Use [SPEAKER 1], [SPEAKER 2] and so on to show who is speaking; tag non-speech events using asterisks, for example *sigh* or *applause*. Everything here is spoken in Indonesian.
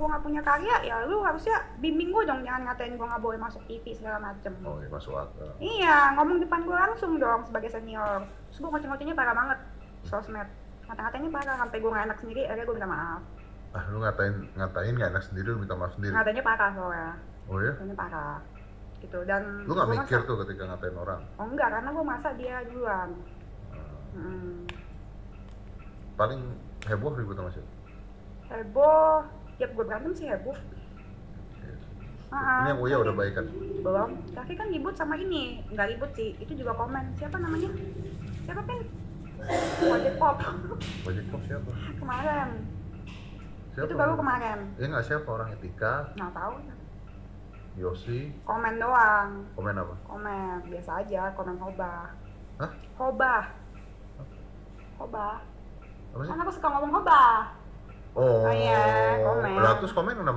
[SPEAKER 1] gue nggak punya karya ya lu harusnya bimbing gue dong jangan ngatain gue nggak boleh masuk TV segala macem
[SPEAKER 2] oh ya masuk akal
[SPEAKER 1] iya ngomong depan gue langsung dong sebagai senior terus gue ngoceh-ngocehnya parah banget sosmed ngata-ngatanya parah sampai gue nggak enak sendiri akhirnya gue minta maaf
[SPEAKER 2] ah lu ngatain ngatain nggak enak sendiri lu minta maaf sendiri
[SPEAKER 1] ngatanya parah soalnya
[SPEAKER 2] oh ya
[SPEAKER 1] ngatanya parah gitu dan
[SPEAKER 2] lu nggak
[SPEAKER 1] gua
[SPEAKER 2] mikir
[SPEAKER 1] merasa-
[SPEAKER 2] tuh ketika ngatain orang
[SPEAKER 1] oh enggak karena gue masa dia duluan
[SPEAKER 2] Hmm.
[SPEAKER 1] hmm.
[SPEAKER 2] paling heboh ribut sama siapa
[SPEAKER 1] heboh tiap gue berantem sih heboh
[SPEAKER 2] Iya.
[SPEAKER 1] Ah,
[SPEAKER 2] ini yang Uya
[SPEAKER 1] ah.
[SPEAKER 2] udah baik kan
[SPEAKER 1] belum kaki kan ribut sama ini nggak ribut sih itu juga komen siapa namanya siapa pin Wajib pop *laughs*
[SPEAKER 2] Wajib kok siapa
[SPEAKER 1] kemarin
[SPEAKER 2] siapa
[SPEAKER 1] itu baru kemarin
[SPEAKER 2] ya nggak siapa orang etika
[SPEAKER 1] nggak tahu
[SPEAKER 2] Yosi
[SPEAKER 1] komen doang
[SPEAKER 2] komen apa
[SPEAKER 1] komen biasa aja komen hoba
[SPEAKER 2] Hah?
[SPEAKER 1] hoba hoba
[SPEAKER 2] apa sih
[SPEAKER 1] kan aku suka ngomong hoba
[SPEAKER 2] oh,
[SPEAKER 1] Oh iya, komen.
[SPEAKER 2] Lah, terus komen kenapa